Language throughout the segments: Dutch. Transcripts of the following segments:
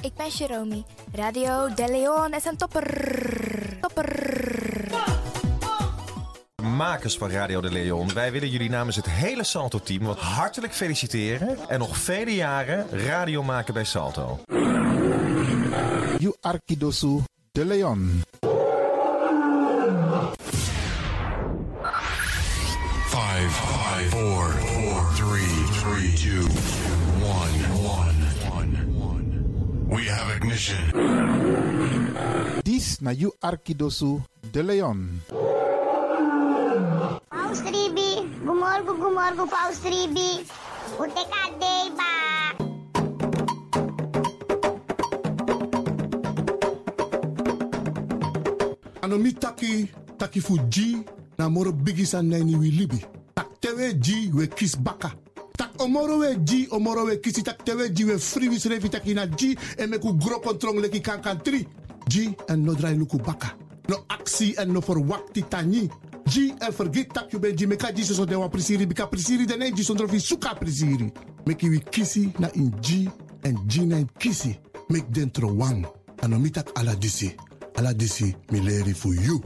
ik ben Jerome. Radio De Leon is een topper. Topper. Makers van Radio de Leon, wij willen jullie namens het hele Salto-team wat hartelijk feliciteren. En nog vele jaren radio maken bij Salto. You Arkidosu de Leon. Five, five, four, four, three, three, two, one, one, one. We have ignition. This na You Arkidosu de Leon. Paus Ribi, gumorgo, gumorgo, Paus Ribi. Ute kadeiba. ano mi taki taki fu ji na moro bigi san na ni wi libi tak tewe ji we kis baka tak omoro we ji omoro we kisi tak tewe ji we free wis revi taki na ji e me ku gro kontrong leki kan kan tri ji en no drai luku baka no aksi en no forwakti tani ji en forget tak you ben ji meka ji so so de wa prisiri bika prisiri de ne ji sondro fi suka prisiri meki wi kisi na in ji en ji na in kisi mek dentro wang ano mi tak ala disi Ala disi mi leri fu you.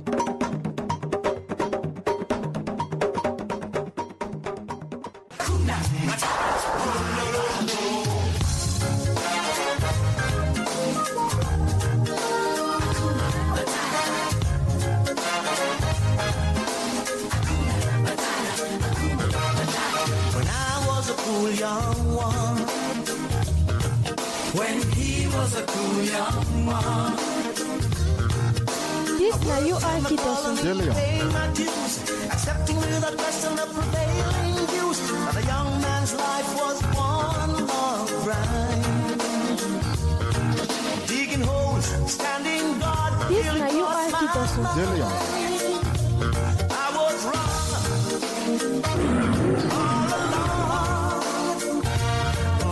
When I was a cool young one. When he was a cool young one. This na you Arkidosu. De Leon. Paying my dues, accepting without question the prevailing views. But a young man's life was one long grind. Digging holes, standing guard. This till it na you crossed my Arkidosu. De Leon. I was wrong. All along,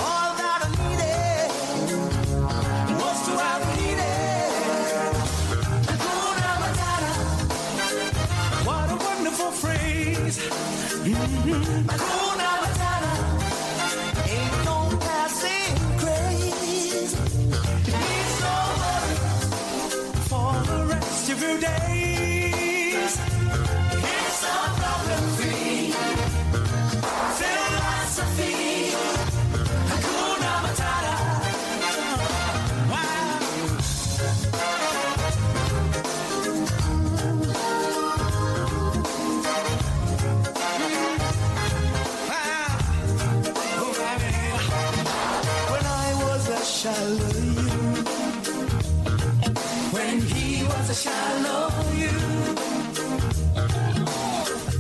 all that I needed was to have needed. Hakuna Matata. What a wonderful phrase. Hakuna Matata. Ain't no passing craze. It's over for the rest of your days. It's a problem-free philosophy. Hakuna Matata. Wow. Wow. Oh, baby. When I was a Shallow you, when he was a shallow you.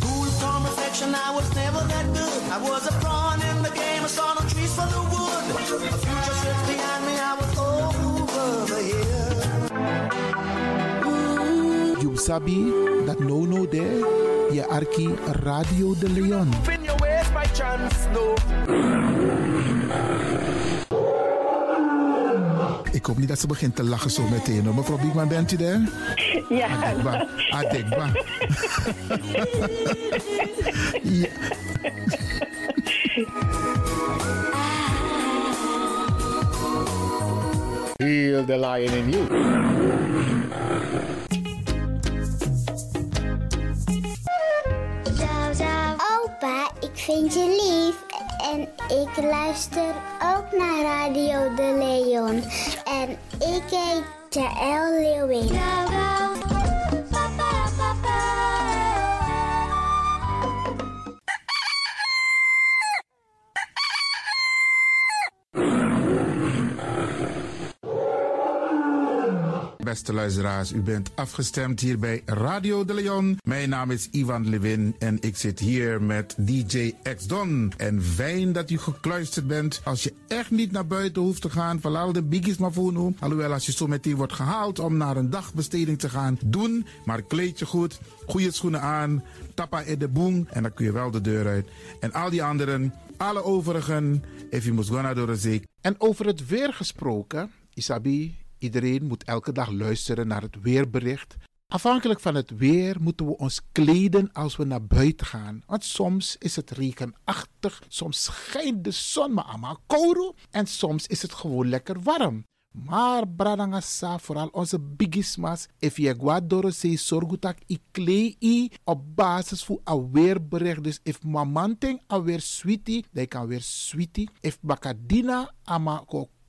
Cool from reflection, I was never that good. I was a pawn in the game, I saw no trees for the wood. A future sits behind me, I was over the hill. You sabi dat no no there. Je Arki Radio de Leon. In your ways by chance, no. Ik hoop niet dat ze begint te lachen zo meteen. hoor. Mevrouw Biekman, bent u er? daar? Ja, Adekba. Adekba. ja. Heal the lion in you. Zou, zou. Opa, ik vind je lief. En ik luister ook naar Radio De Leon. En ik heet Jaël Leeuwin. Beste luisteraars, u bent afgestemd hier bij Radio de Leon. Mijn naam is Ivan Levin en ik zit hier met DJ X Don. En fijn dat u gekluisterd bent. Als je echt niet naar buiten hoeft te gaan, verlaal de biggies maar voor nu. Alhoewel, als je zo meteen wordt gehaald om naar een dagbesteding te gaan, doen. Maar kleed je goed, goede schoenen aan, tappa in de boom en dan kun je wel de deur uit. En al die anderen, alle overigen, if you must go naar door de zee. En over het weer gesproken, Isabi, Iedereen moet elke dag luisteren naar het weerbericht. Afhankelijk van het weer moeten we ons kleden als we naar buiten gaan. Want soms is het regenachtig, soms schijnt de zon maar allemaal kouro en soms is het gewoon lekker warm. Maar bradangasa, vooral onze bigismas, if je guadoro se sorgutak i klei i op basis voor a weerbericht. Dus if mamanting a weer sweetie, dan kan weer sweetie. If bakadina ama ko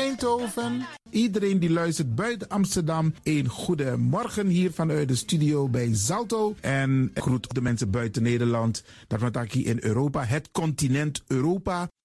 Eindhoven. Iedereen die luistert buiten Amsterdam, een goede morgen hier vanuit de studio bij Zalto. En ik groet de mensen buiten Nederland, dat we hier in Europa, het continent Europa.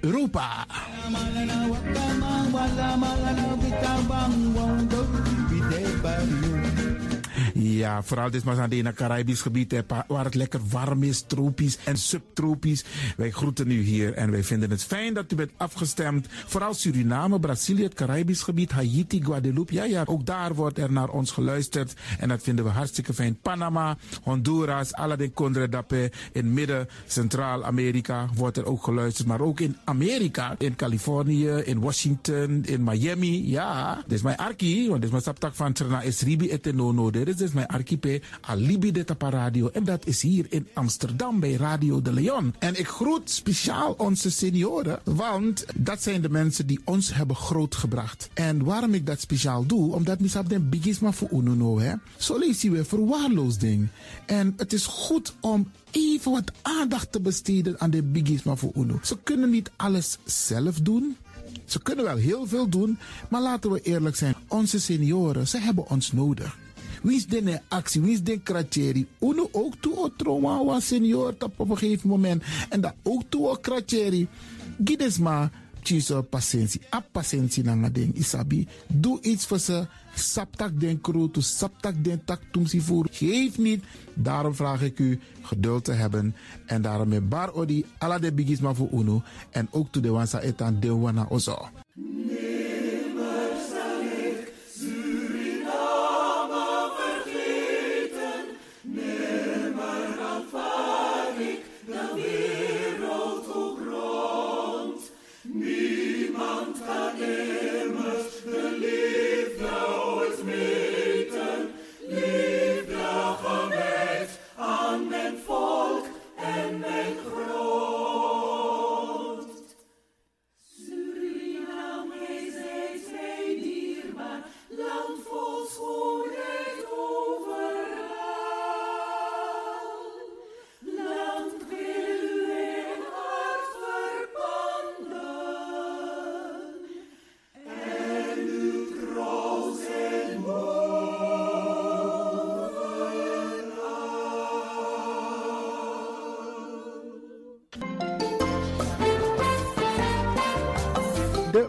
Europa. Ja, vooral dit maar aan het Caribisch gebied, hè, pa- waar het lekker warm is, tropisch en subtropisch. Wij groeten u hier en wij vinden het fijn dat u bent afgestemd. Vooral Suriname, Brazilië, het Caribisch gebied, Haiti, Guadeloupe. Ja, ja, ook daar wordt er naar ons geluisterd en dat vinden we hartstikke fijn. Panama, Honduras, Aladdin Condre Dapé, in midden, Centraal-Amerika wordt er ook geluisterd. Maar ook in Amerika, in Californië, in Washington, in Miami. Ja, dit is mijn arki, want dit is mijn saptak van Trana is Ribi et Nono. nou, Dit is mijn archipel Alibi de Tapa Radio. En dat is hier in Amsterdam bij Radio de Leon. En ik groet speciaal onze senioren, want dat zijn de mensen die ons hebben grootgebracht. En waarom ik dat speciaal doe, omdat misap den bigisma voor Ununo, hè. Zo lezen we verwaarloosding. En het is goed om even wat aandacht te besteden aan de bigisma voor Uno. Ze kunnen niet alles zelf doen. Ze kunnen wel heel veel doen, maar laten we eerlijk zijn. Onze senioren, ze hebben ons nodig. Wie is de actie? Wie is de kratjeri? Uno ook toe o trauma wa senior tap op een gegeven moment. En dat ook toe o kratjeri. Gides maar, tjiso patiëntie. A patiëntie nanga ding isabi. Doe iets voor ze. Saptak den kroto, saptak den tak tumsi voer. Geef niet. Daarom vraag ik u geduld te hebben. En daarom met bar odi ala de bigisma voor uno. En ook toe de wansa etan de wana ozo. De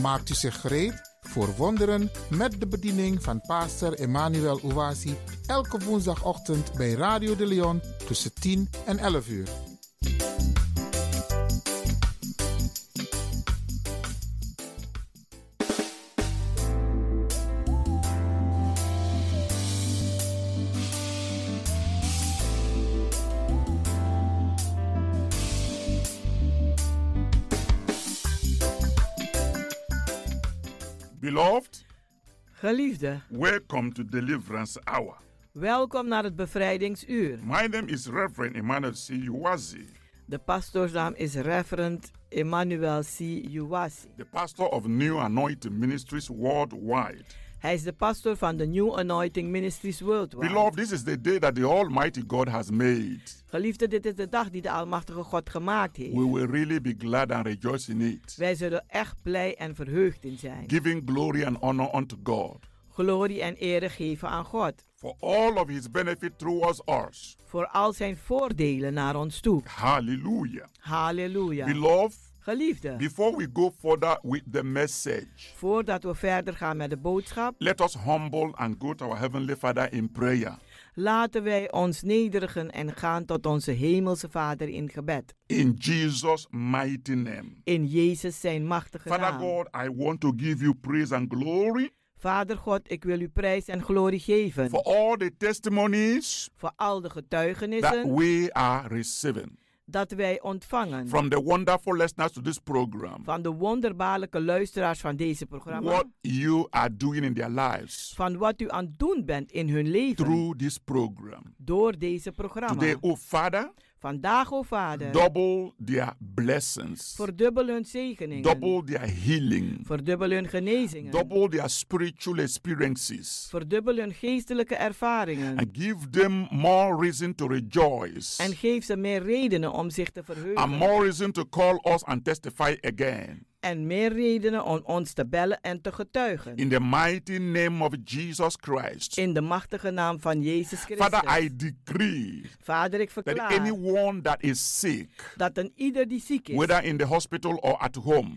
Maakt u zich gereed voor wonderen met de bediening van pastor Emmanuel Owasi elke woensdagochtend bij Radio de Leon tussen 10 en 11 uur. Beloved, Geliefde, welcome to Deliverance Hour. welkom naar het bevrijdingsuur. My name is Reverend Emmanuel C. Uwazi, De pastoorsnaam is Reverend Emmanuel C. Uwasi. the pastor of New Anointing Ministries worldwide. Hij is de pastoor van de New Anointing Ministries Worldwide. Beloved, this is the day that the Almighty God has made. Geliefde, dit is de dag die de Almachtige God gemaakt heeft. We will really be glad and rejoice in it, Wij zullen echt blij en verheugd in zijn. giving glory and honor unto God Glorie en ere geven aan God. for all of his benefit towards us. Voor al zijn voordelen naar ons toe. Hallelujah. Halleluja. Beloved, Geliefde, before we go further with the message, voordat we verder gaan met de boodschap, let us humble and go to our Heavenly Father in prayer. laten wij ons nederigen en gaan tot onze Hemelse Vader in gebed. In Jesus' mighty name. In Jezus zijn machtige Father naam. God, I want to give you praise and glory Vader God, ik wil u prijs en glorie geven for all the testimonies voor al de that getuigenissen we are receiving dat wij ontvangen from the wonderful listeners to this program. van de wonderbaarlijke luisteraars van deze programma. What you are doing in their lives Van wat u aan het doen bent in hun leven through this program. door deze Today, programma. oh Father, Vandaag, o Vader, double their blessings, verdubbel hun zegeningen, double their healing, verdubbel hun genezingen, double their spiritual experiences, verdubbel hun geestelijke ervaringen and give them more reason to rejoice. en geef ze meer redenen om zich te and verheugen more reason to call us and testify again. en meer redenen om ons te bellen en te getuigen. In the mighty name of Jesus Christ. In de machtige naam van Jezus Father, Christus. I decree Vader, ik that verklaar anyone that is sick, dat een ieder die ziek is, whether in the hospital or at home,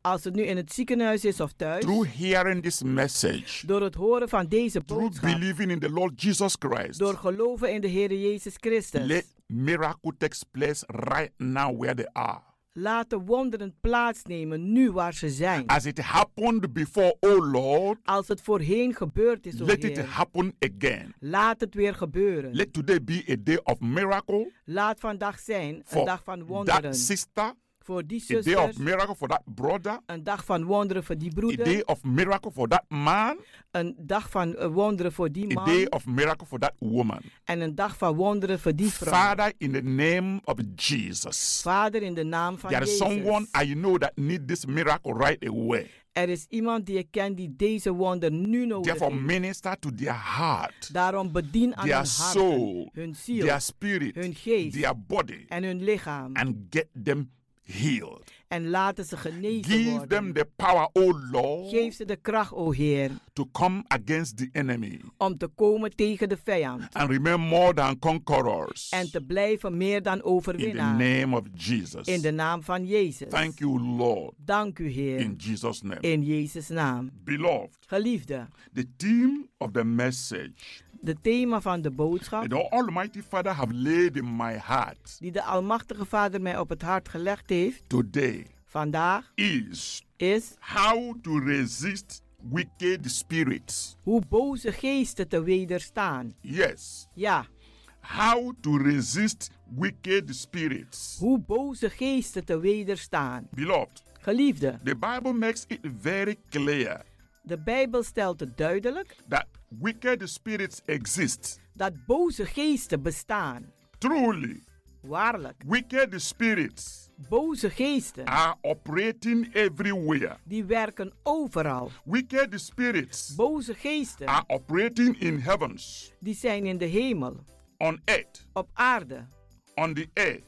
als het nu in het ziekenhuis is of thuis, through hearing this message, door het horen van deze through boodschap, believing in the Lord Jesus Christ, door geloven in de Heer Jezus let Christus, miracle takes place right now where they are. laten wonderen plaatsnemen nu waar ze zijn. As it happened before, oh Lord, Als het voorheen gebeurd is, o let it Heer, happen again. laat het weer gebeuren. Let today be a day of miracle Laat vandaag zijn een for dag van that wonderen sister, voor die a day of zusters, miracle for that brother, een dag van wonderen voor die a day broeder, of miracle for that man, een dag van eh, wonderen voor die a day man of miracle for that woman. en een dag van wonderen voor die vrouw. Father, in the name of Jesus, Vader, in de naam van there is someone Jezus. I know that need this miracle right away. Er is iemand die ik ken die deze wonder nu nodig Therefore, heeft. minister to their heart, Daarom bedien aan hun their harten, soul, hun ziel their spirit, hun geest their body, en hun lichaam. and get them healed. En laten ze genezen Give them worden. the power, O Lord, Geef ze de kracht, o Heer, to come against the enemy om te komen tegen de vijand. and remain more than conquerors. En te blijven meer dan in the overwinnaar. name of Jesus. In de naam van Jezus. Thank you, Lord, Dank u, Heer. in Jesus' name. In Jezus' naam. Beloved, Geliefde, the theme of the message de thema van de that boodschap the Almighty Father have laid in my heart die de Almachtige Vader mij op het hart gelegd heeft today vandaag is is how to resist wicked spirits. hoe boze geesten te wederstaan. Yes, Ja, how to resist wicked spirits. hoe boze geesten te wederstaan. Beloved, Geliefde, the Bible makes it very clear de Bijbel stelt het duidelijk that wicked spirits exist. dat boze geesten bestaan. Truly, Waarlijk, wicked spirits boze geesten are operating everywhere. die werken overal. Wicked spirits Boze geesten are operating in heavens, die zijn in de hemel, on earth, op aarde, on the air,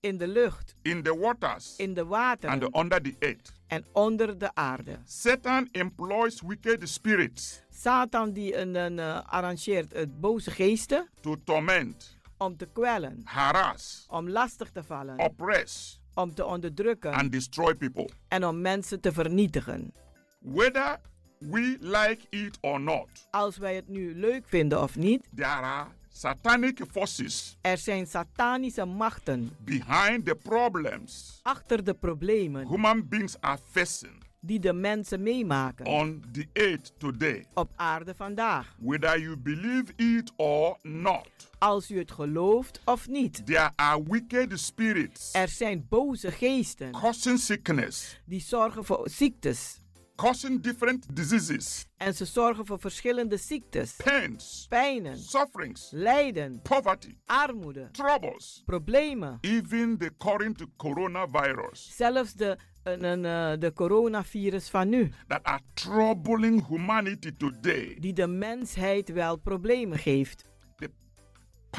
in de lucht, in the waters, in de wateren and under the earth. en onder de aarde. Satan employs wicked spirits Satan die een, een, eh, arrangeert het boze geesten to torment, om te kwellen, harass, om lastig te vallen, oppress, om te onderdrukken and destroy people. en om mensen te vernietigen. Whether we like it or not, Als wij het nu leuk vinden of niet, there are satanic forces er zijn satanische machten behind the problems achter de problemen human beings are facing die de mensen meemaken on the earth today. op aarde vandaag. Whether you believe it or not, Als u het gelooft of niet, there are wicked spirits er zijn boze geesten causing sickness, die zorgen voor ziektes. causing different diseases, En ze zorgen voor verschillende ziektes, pains, pijnen, sufferings, lijden, poverty, armoede, troubles, problemen. even the current coronavirus Zelfs de, een, een, eh, de coronavirus van nu, that are troubling humanity today. die de mensheid wel problemen geeft. The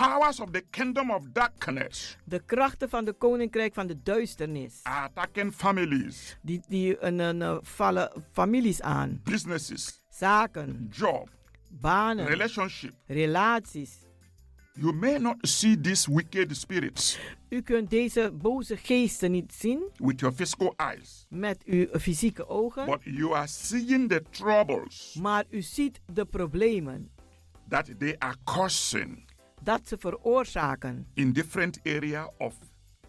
powers of the kingdom of darkness De krachten van de koninkrijk van de duisternis, are attacking families, die, die een, een, eh, vallen families aan, businesses, zaken, job, banen, relationship. relaties. You may not see these wicked spirits U kunt deze boze geesten niet zien with your physical eyes, met uw fysieke ogen, but you are seeing the troubles maar u ziet de problemen that they are causing dat ze veroorzaken in different area of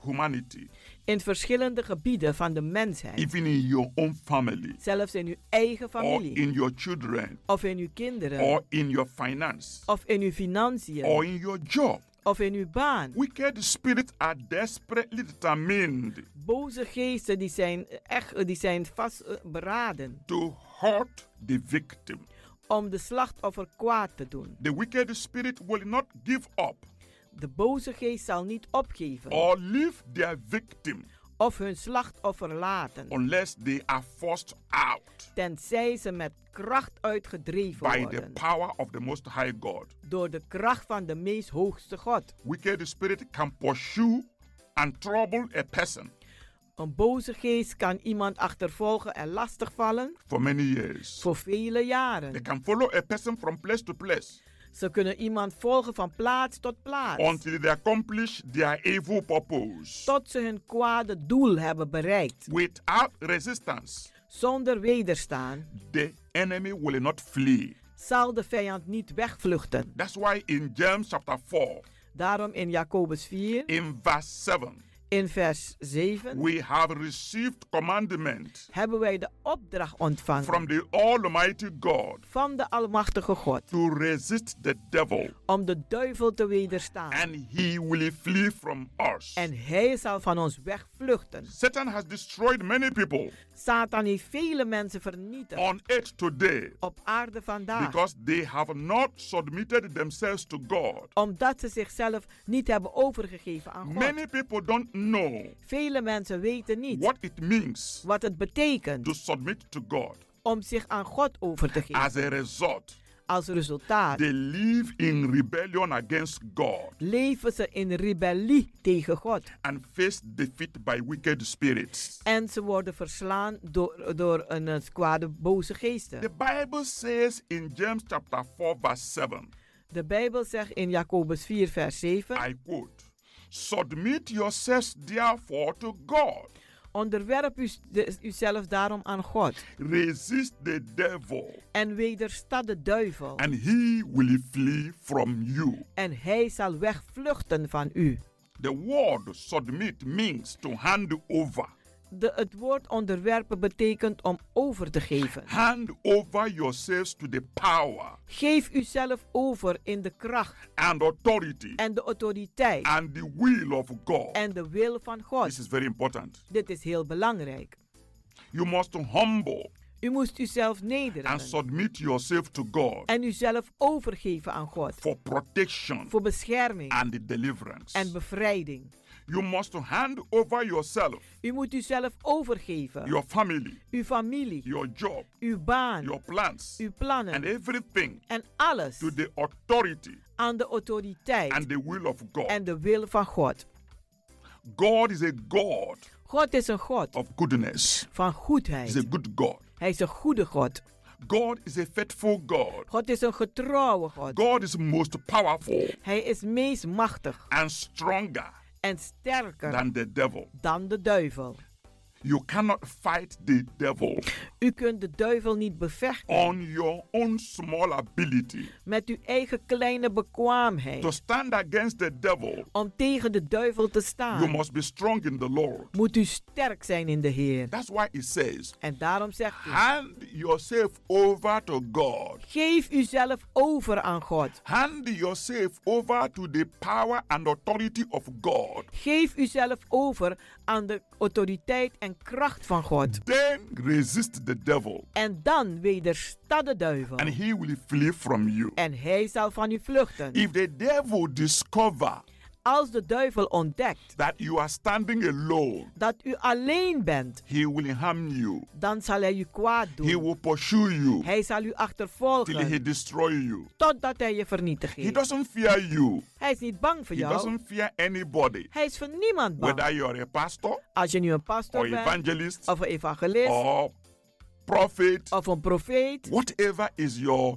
humanity, in verschillende gebieden van de mensheid, even in your own family, zelfs in uw eigen or familie. in Oh, your children, of in uw kinderen, or in your finance, of in uw financiën, or in your job. of in uw baan. Wicked spirits are desperately determined Boze geesten die zijn eh, echt, die zijn eh, vastberaden to hurt the victim. om de slachtoffer kwaad te doen. The wicked spirit will not give up De boze geest zal niet opgeven or leave their victim of hun slachtoffer laten, unless they are forced out tenzij ze met kracht uitgedreven by the worden power of the Most High God. door de kracht van de meest hoogste God. Wicked spirit can pursue and trouble a person Een boze geest kan iemand achtervolgen en lastigvallen for many years. voor vele They jaren. can follow a person from place to place Ze kunnen iemand volgen van plaats tot plaats. until they accomplish their evil purpose tot ze hun kwade doel hebben bereikt. without resistance. Zonder wederstaan The enemy will not flee. zal de vijand niet wegvluchten. That's why in James chapter 4, Daarom in Jacobus 4, in verse 7, in vers 7, we have received commandment hebben wij de opdracht from ontvangen the Almighty God van de Almachtige God to resist the devil, om de duivel te wederstaan. and he will flee from us. En hij zal van ons wegvluchten. Satan has destroyed many people Satan heeft vele mensen vernietigd on earth today op aarde vandaag. because they have not submitted themselves to God. Omdat ze zichzelf niet hebben overgegeven aan God. Many people don't know Vele mensen weten niet what it means wat het betekent to submit to God. om zich aan God over te geven. As a result, Als resultaat they live in rebellion against God leven ze in rebellie tegen God. and face defeat by wicked spirits. En ze worden verslaan door, door een eh, kwade boze The geesten. Bible says in James chapter 4 verse 7, De Bijbel zegt in Jacobus 4, vers 7: I quote, Submit yourselves therefore to God. Onderwerp u, de- uzelf daarom aan God. Resist the devil En wedersta de duivel. and he will flee from you. En hij zal wegvluchten van u. The word submit means to hand over. De, het woord onderwerpen betekent om over te geven. Hand over yourselves to the power Geef uzelf over in de kracht and authority en de autoriteit and the will of God. en de wil van God. This is very important. Dit is heel belangrijk. You must humble U moest uzelf and nederen submit yourself to God en uzelf overgeven aan God for protection voor bescherming and deliverance. en bevrijding. You must hand over yourself, U moet uzelf overgeven, your family, uw familie, your job, uw baan, your plans, uw and plannen everything en alles to the authority aan de autoriteit and the will of God. en de wil van God. God is a God God is een God of goodness. van goedheid. He's a good God. Hij is een goede God. God is a faithful God. God is een getrouwe God. God is most powerful Hij is meest machtig and stronger en sterker than the devil. dan de duivel. You cannot fight the devil U kunt de duivel niet bevechten on your own small ability. met uw eigen kleine bekwaamheid. To stand against the devil, Om tegen de duivel te staan you must be strong in the Lord. moet u sterk zijn in de Heer. That's why it says, En daarom zegt hij, hand yourself over to God. geef uzelf over aan God. Hand yourself over to the power and authority of God. Geef uzelf over aan de autoriteit en kracht van God. Then resist the devil, En dan wedersta de duivel. and he will flee from you. En hij zal van u vluchten. If the devil discover Als de duivel ontdekt that you are standing alone, dat u alleen bent, he will harm you. dan zal hij u kwaad He doen. will pursue you Hij zal u till he achtervolgen destroy you. totdat hij je vernietigt. He doesn't fear you. Hij is niet bang voor He jou. doesn't fear anybody. Hij is voor niemand bang. Whether you are a pastor Als je nu een or pastor bent, evangelist of een evangelist, or prophet, of een profeet, whatever is your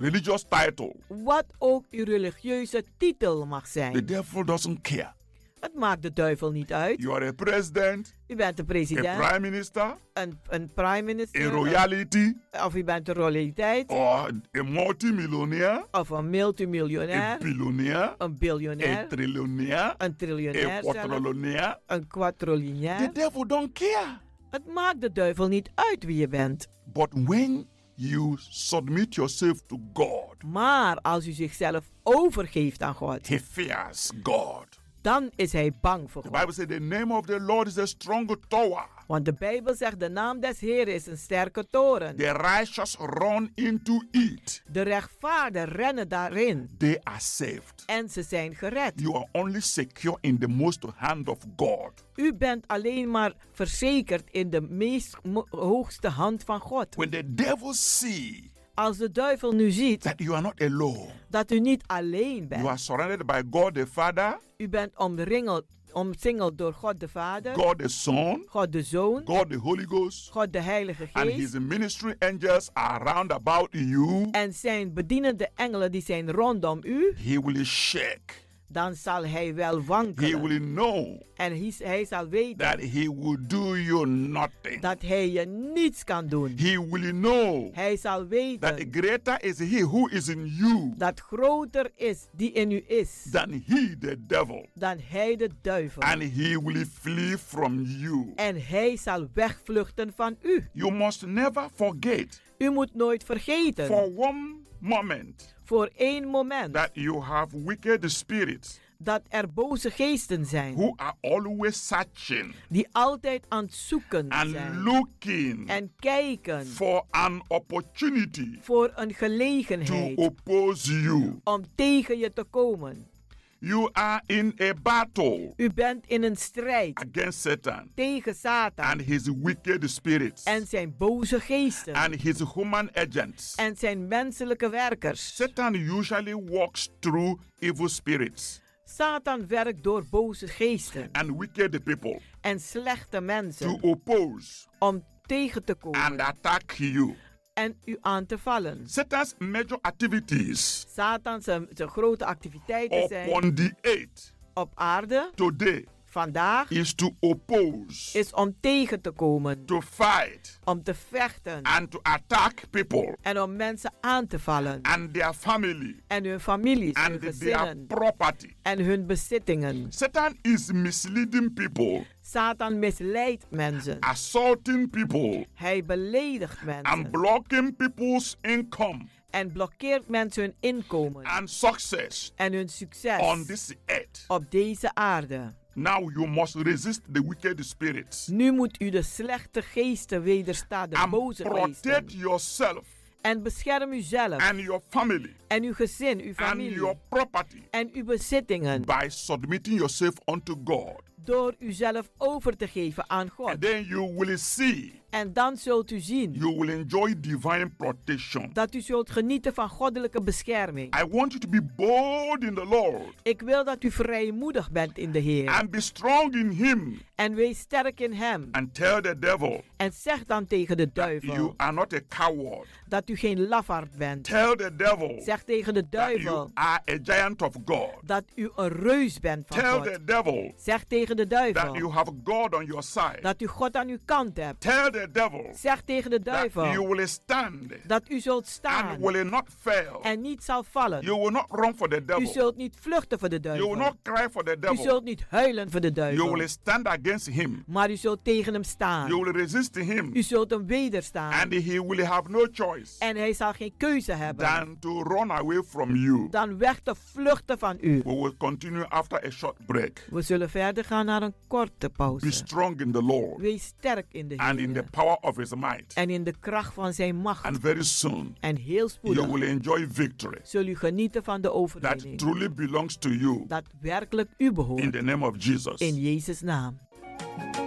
religious title, wat ook uw religieuze titel mag the zijn. devil doesn't care. Het maakt de duivel niet uit. You are a president, U bent de a president, prime minister, een, een prime a minister, eh, royalty, of u bent de royaliteit, or a multimillionaire, of een a multimiljonair, billionaire, een a biljonair, trillionaire, een a triljonair, zelfs, quadrillionaire. een The quadrillionair. devil don't care. Het maakt de duivel niet uit wie je bent. But when you submit yourself to God, Maar als u zichzelf overgeeft aan God, he fears God. dan is hij bang voor The God. Bible says the name of the Lord is a strong tower. Want de Bijbel zegt, de naam des Heeren is een sterke toren. The righteous run into it. De rechtvaarden rennen daarin They are saved. en ze zijn gered. You are only secure in the most hand of God. U bent alleen maar verzekerd in de meest mo- hoogste hand van God. When the devil see Als de duivel nu ziet that you are not alone, dat u niet alleen you are bent, surrounded by God the Father, u bent omringeld, omsingeld door God de Vader, God the Son, God de Zoon, God the Holy Ghost, God de Heilige and Geest his ministry angels are round about you, en zijn bedienende engelen die zijn rondom u, he will shake. dan zal hij wel He wankelen. will know En hij, hij zal weten that he will do you nothing. dat hij je niets kan doen. He will know Hij zal that weten greater is he who is in you dat groter is die in u is than he the devil. dan hij de duivel. And he will flee from you. En hij zal wegvluchten van u. You must never forget U moet nooit vergeten, for one moment voor één moment, that you have wicked spirits dat er boze geesten zijn who are always searching die altijd aan het zoeken and zijn looking en kijken for an opportunity voor een to gelegenheid oppose you. om tegen je te komen. You are in a battle U bent in een strijd against Satan. tegen and Satan his wicked spirits en zijn boze geesten and his human agents. en zijn menselijke werkers. Satan usually walks through evil spirits Satan werkt door boze geesten and wicked people en slechte mensen to oppose om tegen te and komen attack you. en u aan te vallen. Satan's major activities Satan zijn, zijn grote activiteiten zijn upon the earth op aarde today vandaag is to oppose, is om tegen te komen, to fight, om te vechten and to attack people en om mensen aan te vallen and their family en hun families, hun and their gezinnen property. en hun bezittingen. Satan is misleading people, Satan misleidt mensen. assaulting people, Hij beledigt and mensen blocking people's income en blokkeert mensen hun inkomen and success en hun on succes this earth. op deze aarde. Now you must resist the wicked spirits Nu moet u de slechte geesten wederstaan, de and boze geesten. protect yourself En bescherm uzelf and your family en uw gezin, uw and your familie property en uw bezittingen by submitting yourself unto God. door uzelf over te geven aan God. And then you will see. En dan zult u zien You will enjoy divine protection. dat u zult genieten van goddelijke bescherming. I want you to be bold in the Lord Ik wil dat u vrijmoedig bent in de Heer. and be strong in Him en wees sterk in Hem. and tell the devil En zeg dan tegen de duivel you are not a coward. dat u geen lafaard bent. Tell the devil Zeg tegen de that you duivel are a giant of God. dat u een reus bent van Tell God. the devil Zeg tegen de that you duivel have God on your side. dat u God aan uw kant hebt. Tell the devil Zeg tegen de that you duivel will stand dat u zult and staan will not fail. en niet zal vallen. You will not run for the U devil. zult niet vluchten voor de You will duivel. not cry for the U devil. zult niet huilen voor de You duivel. will stand against him. Maar u zult tegen hem staan. You will resist him. U zult hem wederstaan. And he will have no choice En hij zal geen keuze hebben than to run away from you. dan weg te vluchten van u. We will continue after a short break. We zullen verder gaan naar een korte Be pauze. strong in the Lord Wees sterk in de and in the Heer. power of his might. En in de kracht van zijn macht. And very soon, En heel you spoedig will enjoy victory zul u genieten van de that overwinning. truly belongs to you Dat werkelijk u in behoort. the name of Jesus. In Jezus' naam. eh.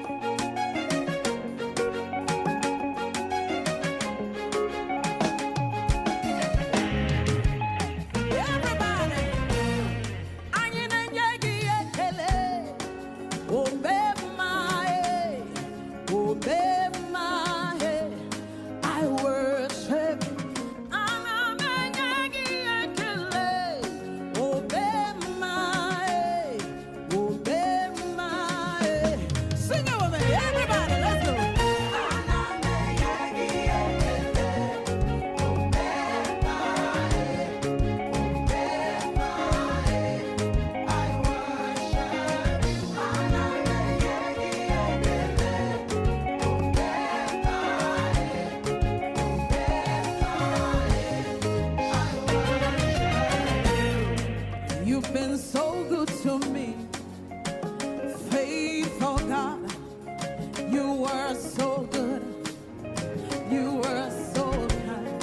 You've been so good to me, faithful God. You were so good. You were so kind.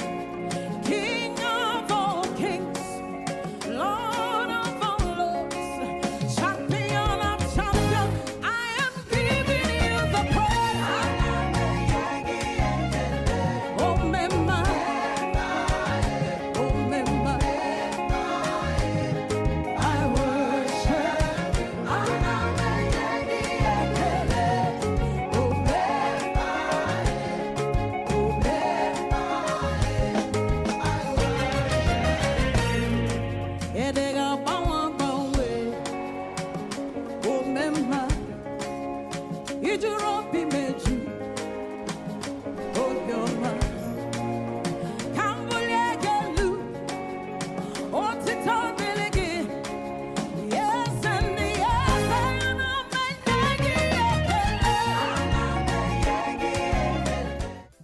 King of all kings, Lord of all lords, champion of champions. I am giving you the praise. Oh, Mema. Oh, Mema. I worship, Thank you. Yes and yes, and I'm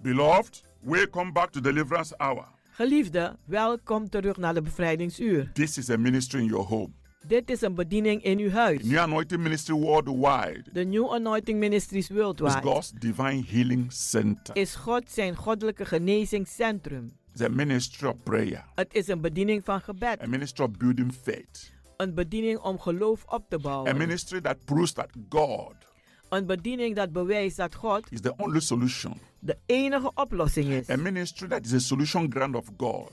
Beloved, welcome back to Deliverance Hour. Geliefde, welkom terug naar de bevrijdingsuur. This is a ministry in your home. Dit is een bediening in uw The huis. New Anointing Ministry Worldwide De New Anointing Ministries is Worldwide God's Divine Healing Center. is God zijn goddelijke genezingscentrum. It's a ministry of prayer, Het is een bediening van gebed, a ministry of building faith, een bediening om geloof op te a bouwen, ministry that proves that God een bediening dat bewijst dat God is the only solution, de enige oplossing is, a ministry that is a solution ground of God,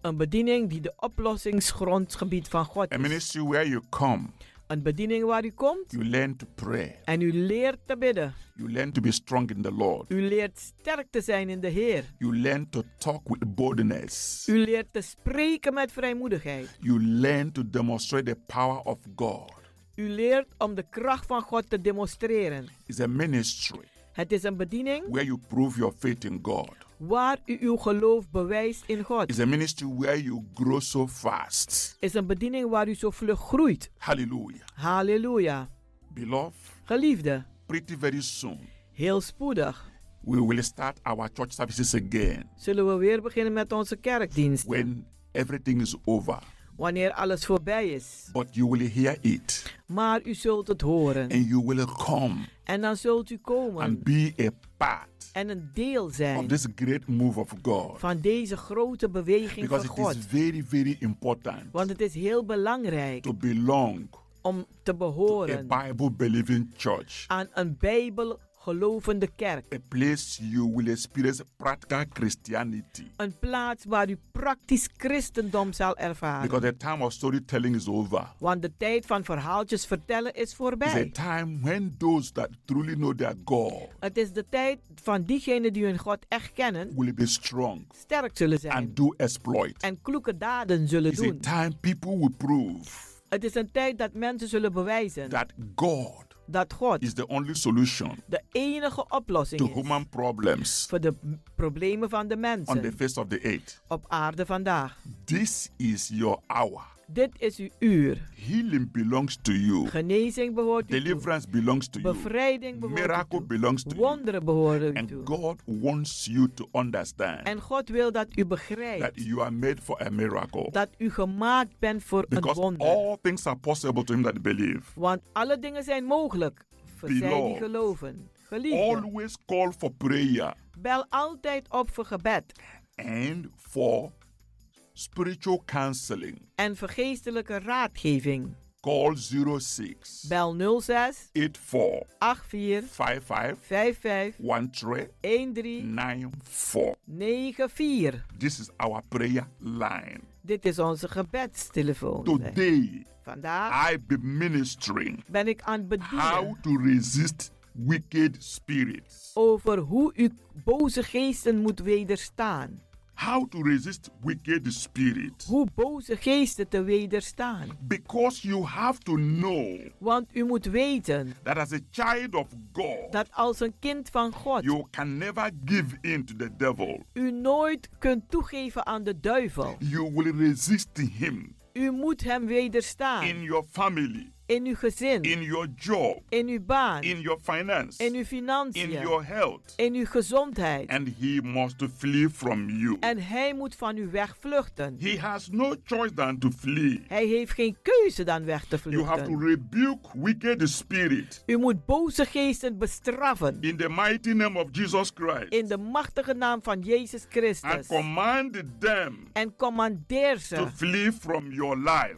een bediening die de oplossingsgrondgebied van God a is, ministry where you come, een bediening waar u komt you learn to pray, en u leert te bidden, you learn to be strong in the Lord, u leert sterk te zijn in de Heer, you learn to talk with boldness, u leert te spreken met vrijmoedigheid, you learn to demonstrate the power of God. u leert om de kracht van God te demonstreren. It's a ministry Het is een bediening where you prove your faith in God. waar u uw geloof bewijst in God. It's a ministry where you grow so fast. Is een bediening waar u zo vlug groeit. Hallelujah. Halleluja. Beloved, Geliefde, pretty very soon, heel spoedig we will start our church services again zullen we weer beginnen met onze kerkdienst. when everything is over. Wanneer alles voorbij is. But you will hear it Maar u zult het horen. and you will come En dan zult u and komen be a part en een deel of zijn this great move of God. van deze grote beweging Because van it is God. very, very important Want het is heel belangrijk to belong om te behoren a Bible believing church, aan een Bijbelgelovende kerk. a place you will experience practical Christianity. Een plaats waar u praktisch christendom zal ervaren. Because the time of storytelling is over. Want de tijd van verhaaltjes vertellen is It's a voorbij. time when those that truly know their God Het is de tijd van diegenen die hun God echt kennen, will be strong sterk zullen zijn and do exploit. en kloeke daden zullen It's a doen. time people will prove Het is een tijd dat mensen zullen bewijzen that God dat God is the only solution de enige to oplossing is human problems voor de m- problemen van de on the mensen face of the earth. op aarde vandaag. This is your hour. Dit is uw uur. Healing belongs to you. Genezing behoort u toe. Deliverance belongs to you. Bevrijding behoort u Miracle belongs to toe. you. Wonderen behoren u toe. And God wants you to understand En God wil dat u that begrijpt you are made for a miracle. dat u gemaakt bent voor een Because wonder. all things are possible to him that believe. Want alle dingen zijn mogelijk voor zij die Beloved. geloven. Geliefde, Always call for prayer bel altijd op voor gebed and for spiritual counseling. en voor geestelijke raadgeving. Call 06 Bel 06 84 84 55 55 Mm. 13 1394. 94. This is our prayer line. Dit is onze gebedstelefoon. Today, Vandaag I be ministering ben ik aan het how bedienen to resist wicked spirits. over hoe u boze geesten moet wederstaan. How to resist wicked spirits. Hoe boze geesten te wederstaan. Because you have to know Want u moet weten that as a child of God, dat als een kind van God you can never give in to the devil. u nooit kunt toegeven aan de duivel. You will resist him U moet hem wederstaan in your family, in uw gezin, in your job, in uw baan, in your finance, in uw in your financiën, health, in uw gezondheid. and he must flee from you. En hij moet van u wegvluchten. He has no choice than to flee. Hij heeft geen keuze dan weg te You have to vluchten. rebuke wicked spirit U moet boze geesten bestraffen in the mighty name of Jesus Christ in de machtige naam van Jezus and Christus. command them En commandeer to ze flee from your life.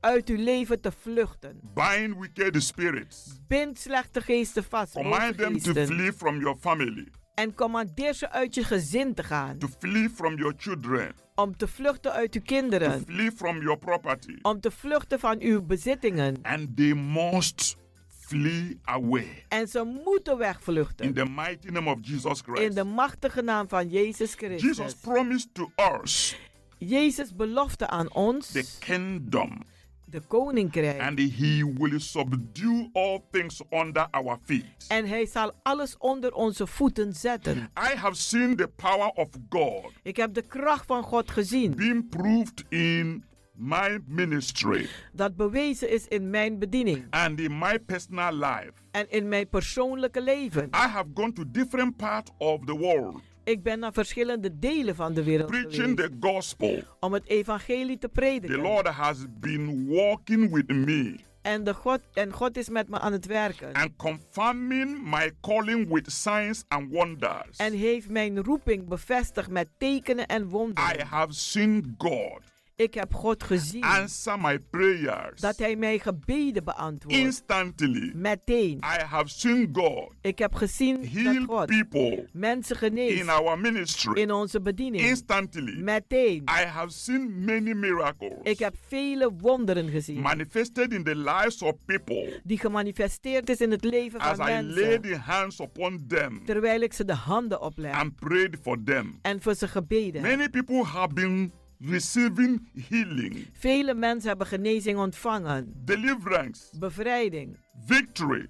uit uw leven te vluchten. Bind wicked spirits. Bind slechte geesten vast. boze Command them to geesten. flee from your family, En commandeer ze uit je gezin te gaan. to flee from your children, Om te vluchten uit uw to kinderen. flee from your property. Om te vluchten van uw bezittingen. And they must flee away En ze moeten in wegvluchten. the mighty name of Jesus In Christ. de machtige naam van Jezus Christus. Jesus promised to us Jezus belofte aan the ons, kingdom de koninkrijk. and he will subdue all things under our feet. En hij zal alles onder onze voeten zetten. I have seen the power of God Ik heb de kracht van God gezien, being proved in my ministry dat bewezen is in mijn bediening and in my personal life. en in mijn persoonlijke leven. I have gone to different parts of the world Ik ben naar verschillende delen van de wereld preaching geweest the gospel. om het evangelie te The prediken. Lord has been walking with me En, de God, en God is met me aan het werken. and confirming my calling with signs and wonders. En heeft mijn roeping bevestigd met tekenen en I wonderen. have seen God Ik heb God gezien answer my prayers dat hij mijn gebeden beantwoordt. instantly. Meteen. I have seen God Ik heb gezien dat heal God people mensen in geneest our ministry in onze bediening. instantly. Meteen. I have seen many miracles Ik heb vele wonderen gezien manifested in the lives of people die gemanifesteerd is in het leven van as I laid mensen. the hands upon them Terwijl ik ze de handen opleg and prayed for them. en voor ze gebeden. heb. Many people have been receiving healing, Vele mensen hebben genezing ontvangen, deliverance, bevrijding, victory,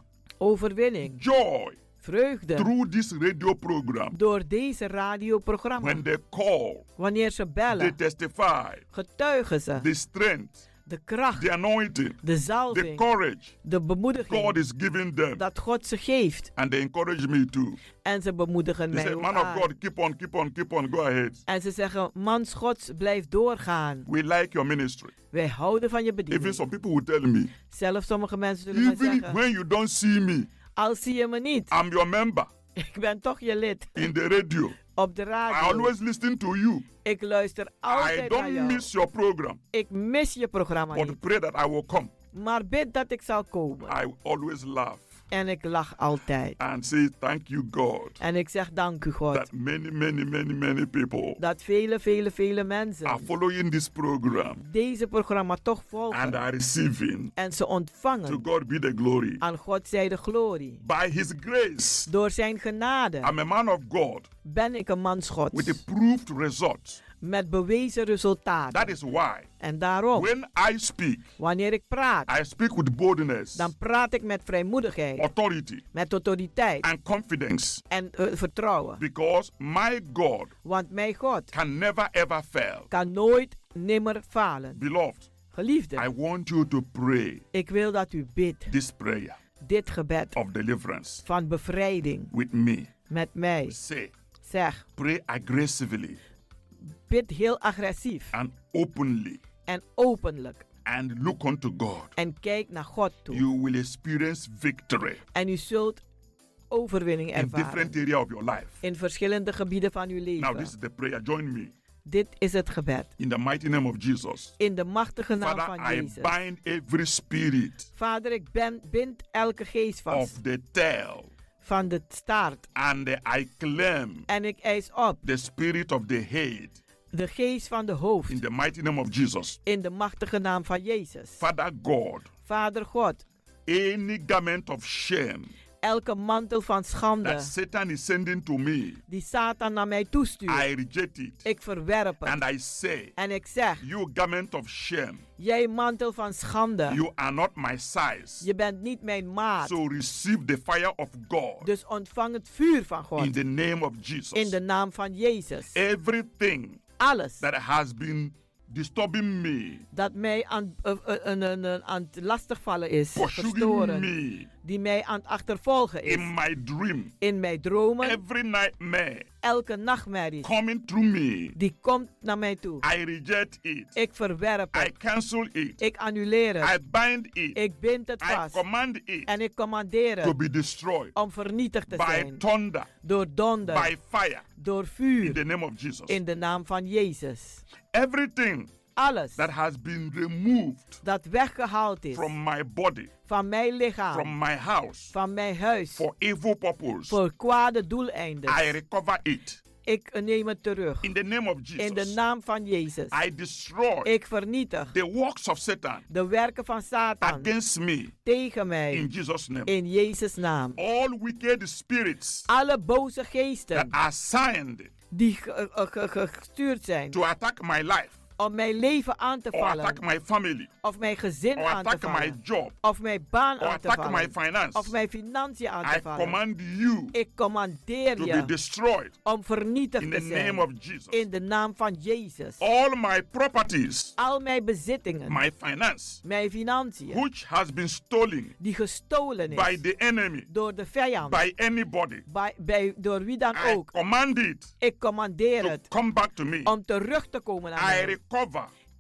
overwinning, joy vreugde through this radio program. door deze radioprogramma. When they call, Wanneer ze they bellen, testify getuigen ze the strength, de the kracht, anointing, de the zalving, courage de God bemoediging is giving them. dat God ze geeft. And they encourage me too. En ze bemoedigen They mij say, ook Man of aan. God, keep on, keep on, keep on, go ahead. En ze zeggen, mans gods, blijf doorgaan. We like your ministry. Wij houden van je Even bediening. some people will tell me, Zelfs sommige mensen zullen mij even zeggen, when you don't see me, al zie je me niet, I'm your member ik ben toch je lid in the radio. op de I radio. always listen to you. Ik luister I altijd naar don't jou. miss your program, Ik mis je programma niet, but pray that I will come. maar bid dat ik zal komen. I always laugh En ik lach altijd. and say thank you, God, En ik zeg dank u God. that many, many, many, many people Dat vele, vele, vele mensen are following this program deze programma toch and volgen. are receiving. En ze To ontvangen. God be the glory. Aan God zij de glorie. By His grace, Door zijn genade I'm a man of God ben ik een man with a Gods. proved result. Met bewezen resultaten. That is why, En daarom, when I speak, wanneer ik praat, I speak with boldness, dan praat ik met vrijmoedigheid. authority, Met autoriteit. and confidence En eh, vertrouwen. because my God Want mijn God can never ever fail. kan nooit, nimmer falen. Beloved, I Geliefde, want you to pray ik wil dat u bidt this prayer dit gebed of deliverance van bevrijding with me. met mij. Say, Zeg, pray aggressively bid heel agressief and openly en openlijk. and look unto God. En kijk naar God toe. You will experience victory En u zult overwinning in ervaren. different area of your life. In verschillende gebieden van uw Now leven. this is the prayer. Join me Dit is het gebed. in the mighty name of Jesus. In de machtige naam Father, van I Jezus. bind every spirit Vader, ik ben, bind elke geest vast of the tail van de staart. and I claim En ik eis op the spirit of the head de geest van de hoofd. in the mighty name of Jesus. In de machtige naam van Jezus. Father God, Vader God, any garment of shame elke mantel van that schande Satan is sending to me, die Satan naar mij toestuurt, I reject it. ik verwerp het. And I say, En ik zeg, You garment of shame, jij mantel van schande, you are not my size. je bent niet mijn maat. So receive the fire of God Dus ontvang het vuur van God in the name of Jesus. in de naam van Jezus. Everything Alles that has been disturbing me, dat mij aan, eh, eh, eh, eh, eh, aan het lastigvallen is, pursuing verstoren, me die mij aan het achtervolgen in is. my dream, In mijn dromen, every nightmare elke nachtmerrie, coming through me, die komt naar mij toe. I reject it. Ik verwerp I het. cancel it. Ik annuleer I het. bind it. Ik bind het I vast. command it En ik commandeer to het be destroyed om vernietigd te by zijn. thunder, Door by donder, fire, door in vuur, the name of Jesus. in de naam van Jezus. Everything Alles that has been removed dat weggehaald is from my body, van mijn lichaam, from my house, van mijn huis, for evil purpose, voor kwade I doeleinden. recover it Ik neem het terug. in the name of In de Jesus. naam van Jezus. I destroy Ik vernietig the works of Satan de werken van Satan against me tegen in mij. Jesus' name. Um, In Jezus' naam. All wicked spirits Alle boze that geesten are assigned die ge- ge- ge- ge- gestuurd zijn to attack my life om mijn leven aan te or attack vallen, my family of mijn gezin or aan te attack my vallen, job of mijn baan or aan te attack my vallen, finance. of mijn financiën aan I te vallen. command you Ik commandeer to be je destroyed om vernietigd in the te name zijn of Jesus. in de naam van Jezus. All my properties, Al mijn bezittingen, my finance, mijn financiën, which has been stolen die gestolen by is the enemy, door de vijand, by anybody, bij, bij, door wie dan I ook, command it ik commandeer to het come back to me. om terug te komen naar I mij. recover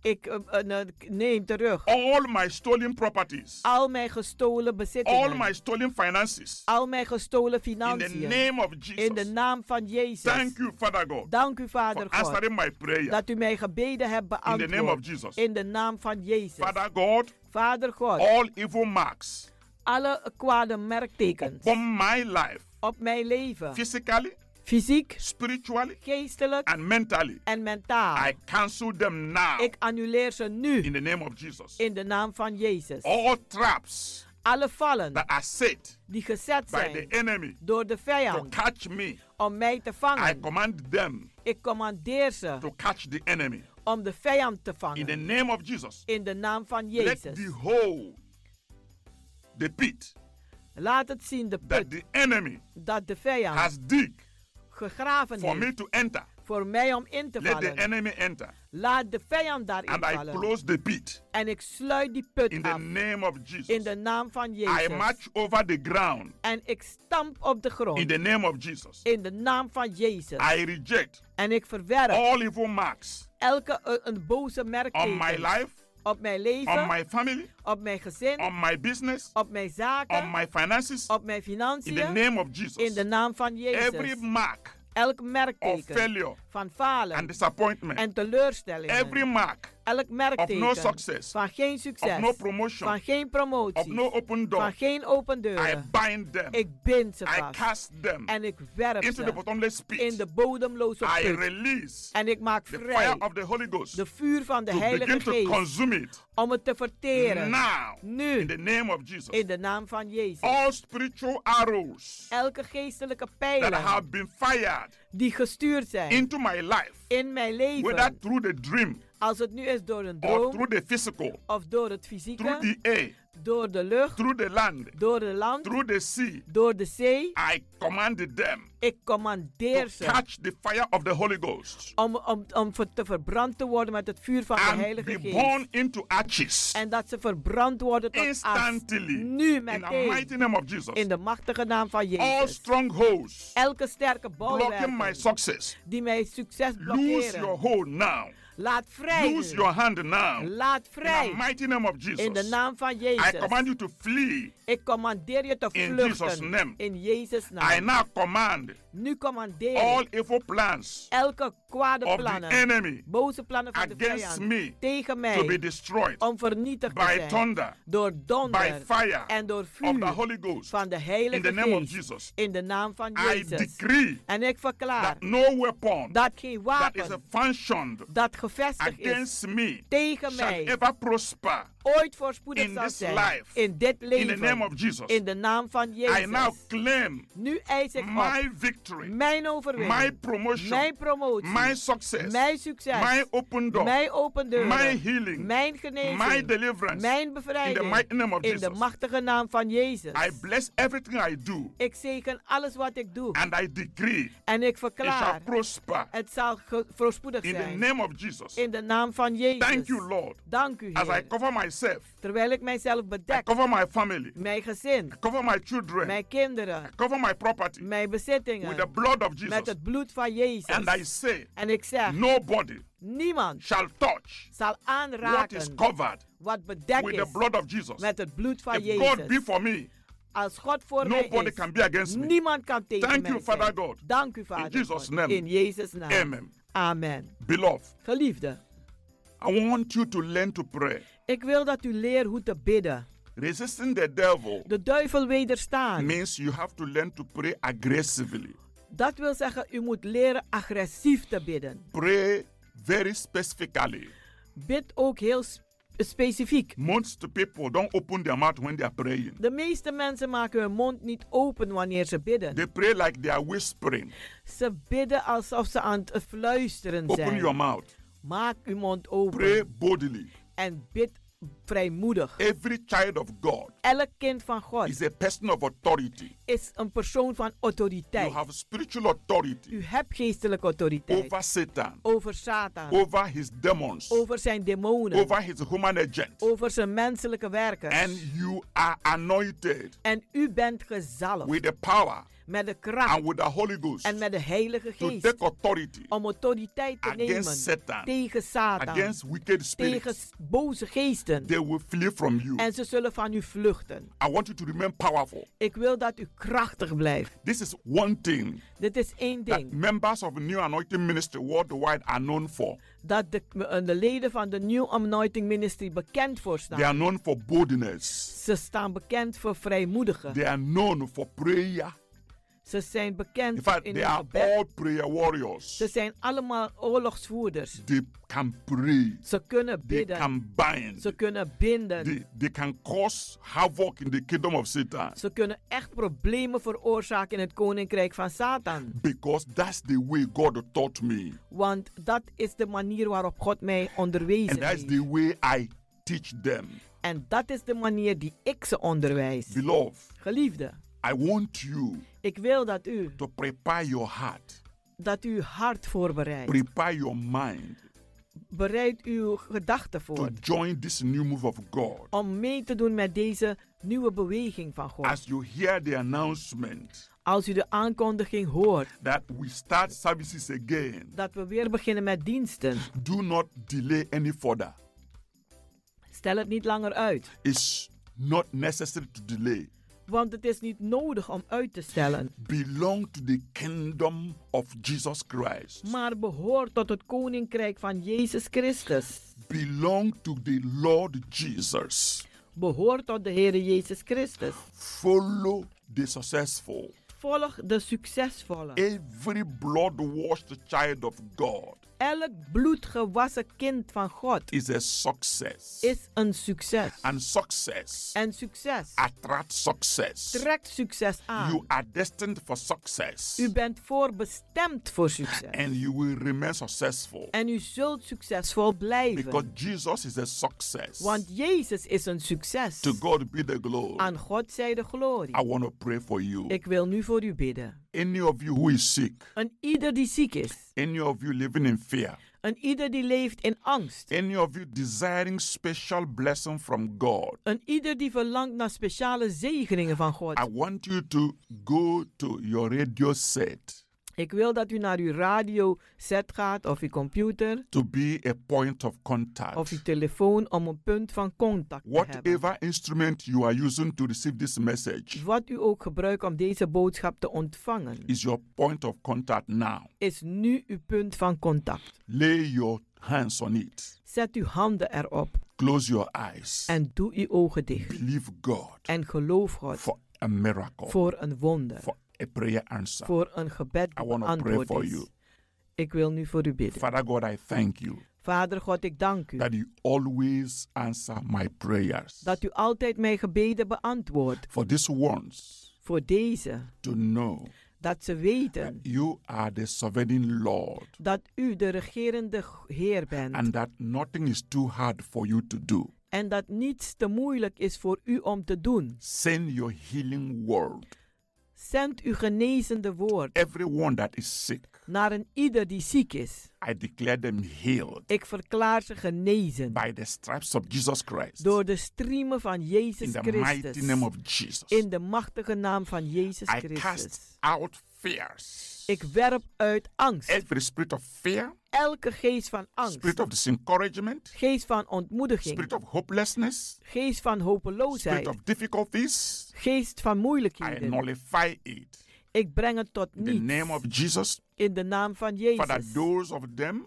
Ik eh, eh, eh, neem terug all my stolen properties, al mijn gestolen all my bezittingen, stolen finances al mijn gestolen in the financiën, name of in de Jesus. naam van Jezus. Thank you, Father God, Dank u, for Vader God, answering my prayer dat u mijn gebeden hebt in the name of beantwoord. Jesus. Oh. In de naam van Jezus. Father God, Vader God, all evil marks alle kwade merktekens upon my life, op mijn leven, physically, fysiek, spiritually, geestelijk and mentally, en mentaal. I cancel them now Ik annuleer ze nu in Oh. the name of Jesus. in de naam van Jezus. All traps Alle vallen that are set die gezet by the zijn enemy door de to vijand catch me, om mij te I vangen. command them Ik commandeer ze to catch the enemy om de vijand te in the vangen. name of Jesus. In de naam van Let the Jezus. whole, the pit Laat het zien, de that put, Ah. the enemy dat de vijand has dig gegraven for me heeft to enter, voor mij om in te let the vallen. enemy enter, Laat de vijand daarin and I vallen. close the pit En ik sluit die put in the af name of in Jesus. de naam van I Jezus. march over the ground En ik stamp op de in grond the name of Jesus. in de naam van Jezus. I reject En ik verwerp all evil marks elke eh, een boze on my merkteken life, op mijn on leven, my family, op mijn gezin, on my business, op mijn on zaken, my finances, op mijn in the financiën. name of In Jesus. de naam van Every Jezus. mark Elk of merkteken failure van and falen disappointment, en teleurstellingen. every mark elk merkteken. no success. Van geen succes. Of no promotion. Van geen promotie. Of no open door. Van geen open deuren. I bind them. Ik bind ze I vast. cast them. en ik werp into ze the bottomless pit. in de bodemloze I put. release en ik maak the vrij fire of the Holy Ghost de vuur van de to Heilige begin to Geest consume it om het te verteren. now nu, in the name of Jesus. in de naam van Jezus. All spiritual arrows Elke geestelijke that pijlen have been fired die gestuurd zijn into my life, in Oh. mijn whether leven, through the dream als het nu is door een or droom through the physical, of door het through fysieke, the air, door de lucht, through the land, door de land, through the sea, door de zee, I commanded them ik commandeer to ze catch the fire of the Holy Ghost om, om, om ver- te verbrand te worden met het vuur van de and Heilige be Geest. born into ashes En dat ze verbrand worden tot as. instantly Nu in the mighty meteen. name of Jesus. In de machtige naam van All Jezus. strongholds Elke sterke blocking my bolwerk success, die mijn succes lose your blokkeren. hold now. Laat vrij. Lose nu. your hand now. Laat In the vrij. mighty name of Jesus. In de naam van I Jezus. command you to flee. Ik commandeer je te In Jesus' vluchten. name. In Jezus' I naam. now command Nu commandeer all ik evil plans elke kwade of the plannen. enemy Boze plannen van de against vijand. me Tegen to be mij. destroyed Om vernietigd te by zijn. thunder Door by donder. fire En door of the vuur. Holy Ghost. Van de In the Heilige name of Geest. Jesus, In de naam van I Jezus. decree En ik verklaar that no weapon dat geen that is wapen functioned dat gevestigd is against me tegen shall mij ever prosper. ooit voorspoedig in zal this zijn life. in dit In the name leven. of Jesus, In de naam van I now Jezus. claim Nu eis ik my op victory, mijn overwinning, my promotion, mijn promotie, my success, mijn succes, my open door, mijn open deuren, my healing, mijn genezing, my deliverance. mijn in the bevrijding, mighty name of in de Jesus. machtige naam van Jezus. I bless everything I do Ik zegen alles wat ik doe and I decree en ik it shall verklaar, prosper het zal ge- voorspoedig in the zijn. name of Jesus. In de naam van Jezus. Thank you, Lord, Dank u, as I Heer. cover myself, Terwijl ik mijzelf I bedek, cover my family, mijn gezin, cover my children, mijn kinderen, cover my property mijn with the bezittingen, blood of Jesus. met het bloed van Jezus. And I say, En ik zeg, nobody niemand shall touch zal what is aanraken covered wat bedekt with the is blood of Jesus. met het bloed van If God be Jezus. for me, Als God voor mij nobody is, can be against me. niemand kan tegen Thank mij you, zijn. Father God. Dank u, Vader. In Jesus' God. name. In Jezus' naam. Amen. Amen. Beloved, Geliefde, I want you to learn to pray. ik wil dat u leert hoe te bidden. Resisting the devil De duivel wederstaan. means you have to learn to pray aggressively. Dat wil zeggen, u moet leren agressief te bidden. Pray very specifically. Bid ook heel s- specifiek. Most people don't open their mouth when they are praying. De meeste mensen maken hun mond niet open wanneer ze bidden. They pray like they are whispering. Ze bidden alsof ze aan het fluisteren Open your zijn. mouth. Maak uw mond open Pray boldly. en bid vrijmoedig. Every child of God Elk kind van God is a person of authority. is een persoon van You autoriteit. have spiritual authority U hebt geestelijke autoriteit over Satan, over Satan, over his demons, over zijn demonen, over his human agent. over zijn menselijke werken. And you are anointed En u bent gezalfd with the power met de kracht and with the Holy Ghost en met de Heilige to Geest take authority om autoriteit te Against nemen Satan. tegen Satan, against wicked tegen spirits. s- boze geesten. They will flee from you. En ze zullen van u vluchten. I want you to remain powerful. Ik wil dat u krachtig blijft. This is one thing Dit is één that ding members of New Anointing Ministry worldwide are known for. dat de, eh, de leden van de New Anointing Ministry bekend voor They staan. are known for boldness. Ze staan bekend voor vrijmoedigen. They are known for prayer. Ze zijn In bekend fact, in they hun are gebed. all prayer warriors. Ze zijn allemaal oorlogsvoerders. They can pray. Ze kunnen They bidden. can bind. Ze kunnen binden. They, they can cause havoc in the kingdom of Satan. Ze kunnen echt problemen veroorzaken in het koninkrijk van Satan. Because that's the way God taught me. Want dat is de manier waarop God mij onderwezen And that's heeft. the way I teach them. En dat is de manier die ik ze onderwijs. Beloved, Geliefde, I want you ik wil dat u, to prepare your heart, dat u hart voorbereidt. prepare your mind Bereid uw gedachten to voor. join this new move of God. Om mee te doen met deze nieuwe beweging van God. As you hear the announcement Als u de aankondiging hoort that we start services again, dat we weer beginnen met diensten, do not delay any further. stel het niet langer uit. It's not necessary to delay. Want het is niet nodig om uit te stellen, Belong to the kingdom of Jesus Christ. maar behoort tot het koninkrijk van Jezus Christus. belong to the Lord Jesus. Behoort tot de Heer Jezus Christus. Follow the successful. Volg de succesvolle. Every blood-washed child of God Elk bloedgewassen kind van God is a success. is een succes. And success En succes attracts success. trekt succes aan. You are destined for success. U bent voorbestemd voor succes. And you will remain successful. En u zult succesvol blijven. Because Jesus is a success. Want Jezus is een succes. To God be the glory. Aan God zij de glorie. I want to pray for you. Ik wil nu voor u bidden. Any of you who is sick, Een ieder die ziek is. any of you living in fear, Een ieder die leeft in angst. any of you desiring special blessing from God, Een ieder die verlangt naar speciale zegeningen van God. I want you to go to your radio set Ik wil dat u naar uw radio set gaat of uw computer to be a point of contact. of uw telefoon om een punt van contact te hebben. Whatever instrument you are using to receive this message Wat u ook gebruikt om deze boodschap te ontvangen, is your point of contact now. is nu uw punt van contact. Lay your hands on it. Zet uw handen erop Close your eyes. en doe uw ogen dicht. Believe God En geloof God for a miracle, voor een wonder, for a prayer answer. voor een gebed I dat want to pray beantwoord for is. you. Ik wil nu voor u bidden. Father God, I thank you Vader God, ik dank u that you always answer my prayers. dat u altijd mijn gebeden beantwoordt. For this ones Voor deze, to know dat ze weten you are the sovereign Lord dat u de regerende Heer bent. and that nothing is too hard for you to do. en dat niets te moeilijk is voor u om te doen. Send your healing word. Zend uw genezende woord Everyone that is sick, naar een ieder die ziek is. I declare them healed Ik verklaar ze genezen by the stripes of Jesus Christ. door de striemen van in Jezus the Christus. mighty name of Jesus, In de machtige naam van Jezus I cast Christus. out fears. Ik werp uit angst Every spirit of fear, elke geest van spirit angst, of disencouragement, geest van spirit ontmoediging, of hopelessness, geest van spirit hopeloosheid, of difficulties, geest van I moeilijkheden. nullify it. Ik breng het tot In the name niets of Jesus, in de naam van Father, Jezus. those of them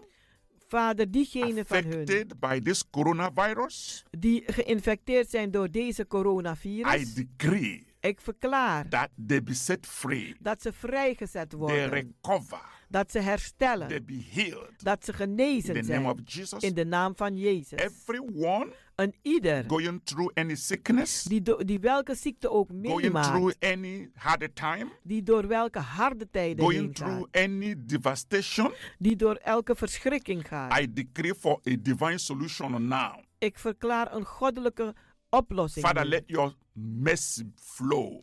Vader, diegenen van hun affected by this coronavirus, die geïnfecteerd zijn door deze I coronavirus, decree ik verklaar that they be set free, dat ze vrijgezet they worden, recover, dat ze they herstellen, be healed. dat ze In the genezen name of zijn. Jesus, In de naam van Jezus. everyone Een ieder going through any sickness, die, do- die welke ziekte ook going through meemaakt, any hard time, die door welke harde tijden going heen gaat, through any devastation, die door elke verschrikking gaat. I decree for a divine solution now. Ik verklaar een goddelijke oplossing. Father, nu. let your mercy flow.